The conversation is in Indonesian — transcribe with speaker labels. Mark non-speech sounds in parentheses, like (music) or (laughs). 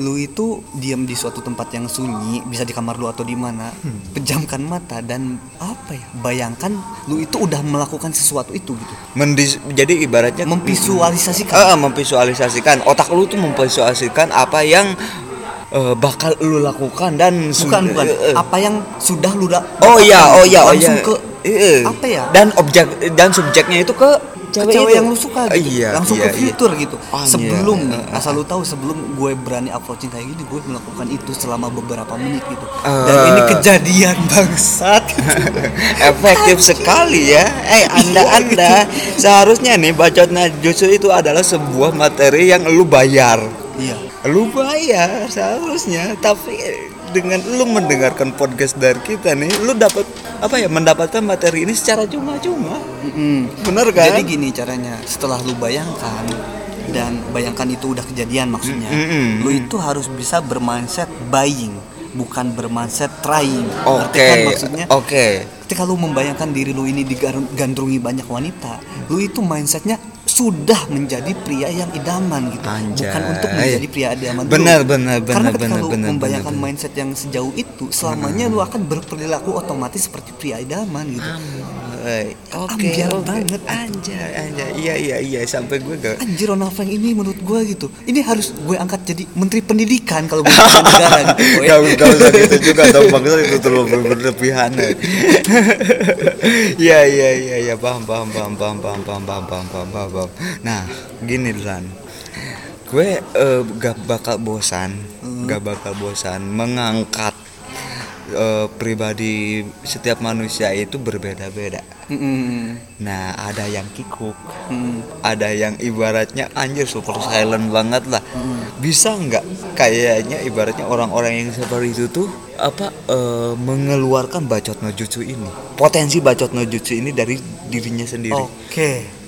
Speaker 1: lu itu diam di suatu tempat yang sunyi bisa di kamar lu atau di mana
Speaker 2: Hmm.
Speaker 1: pejamkan mata dan apa ya bayangkan lu itu udah melakukan sesuatu itu gitu
Speaker 2: Mendis- jadi ibaratnya
Speaker 1: memvisualisasikan
Speaker 2: Eh, memvisualisasikan otak lu tuh memvisualisasikan apa yang eh, bakal lu lakukan dan su-
Speaker 1: bukan bukan
Speaker 2: eh, eh.
Speaker 1: apa yang sudah lu da-
Speaker 2: oh iya oh iya oh iya
Speaker 1: langsung ke
Speaker 2: Iya.
Speaker 1: apa ya?
Speaker 2: dan objek dan subjeknya itu ke
Speaker 1: ke
Speaker 2: cewek,
Speaker 1: cewek
Speaker 2: itu.
Speaker 1: yang lu suka gitu
Speaker 2: iya,
Speaker 1: langsung ke
Speaker 2: iya, iya.
Speaker 1: fitur gitu
Speaker 2: Oh, iya.
Speaker 1: sebelum
Speaker 2: Eh,
Speaker 1: nih,
Speaker 2: eh,
Speaker 1: asal lu tahu sebelum gue berani approaching kayak gini gue melakukan itu selama beberapa menit gitu
Speaker 2: Eh.
Speaker 1: dan ini kejadian (laughs) bangsat gitu.
Speaker 2: (laughs) efektif sekali ya eh anda
Speaker 1: Iya.
Speaker 2: anda seharusnya nih bacotnya justru itu adalah sebuah materi yang lu bayar
Speaker 1: iya
Speaker 2: lu bayar seharusnya tapi eh, dengan lu mendengarkan podcast dari kita nih lu dapat apa ya mendapatkan materi ini secara cuma-cuma
Speaker 1: Mm-mm.
Speaker 2: bener kan
Speaker 1: Jadi gini caranya, setelah lu bayangkan dan bayangkan itu udah kejadian maksudnya,
Speaker 2: Mm, mm, mm,
Speaker 1: lu itu harus bisa bermindset buying, bukan bermindset trying.
Speaker 2: oke
Speaker 1: Ngerti kan maksudnya?
Speaker 2: oke
Speaker 1: Ketika lu membayangkan diri lu ini digandrungi banyak wanita, lu itu mindsetnya sudah menjadi pria yang idaman gitu, bukan
Speaker 2: Anjay.
Speaker 1: untuk menjadi pria idaman. lu.
Speaker 2: Benar, benar,
Speaker 1: Karena
Speaker 2: benar,
Speaker 1: ketika
Speaker 2: benar,
Speaker 1: lu
Speaker 2: benar,
Speaker 1: membayangkan
Speaker 2: benar. Mm.
Speaker 1: mindset yang sejauh itu, selamanya lu akan berperilaku otomatis seperti pria idaman
Speaker 2: Ah,
Speaker 1: gitu.
Speaker 2: Eh, oke
Speaker 1: Ambiar
Speaker 2: oke.
Speaker 1: banget.
Speaker 2: anjay anjay iya iya iya sampai gue gak
Speaker 1: anjir Ronald Frank ini menurut gue gitu ini harus gue angkat jadi menteri pendidikan kalau gue jadi negara gitu boy.
Speaker 2: Gak, gak usah gitu juga dong bangsa itu terlalu berlebihan Iya iya iya iya paham paham paham paham paham paham paham paham paham paham paham. Nah gini Lan Gue eh, gak bakal bosan Gak bakal bosan mengangkat eh, pribadi setiap manusia itu berbeda-beda
Speaker 1: Mm-mm.
Speaker 2: Nah ada yang kikuk
Speaker 1: Mm.
Speaker 2: ada yang ibaratnya anjir super silent banget lah bisa nggak kayaknya ibaratnya orang-orang yang seperti itu tuh apa eh, mengeluarkan bacot nojutsu ini potensi bacot nojutsu ini dari dirinya sendiri
Speaker 1: oke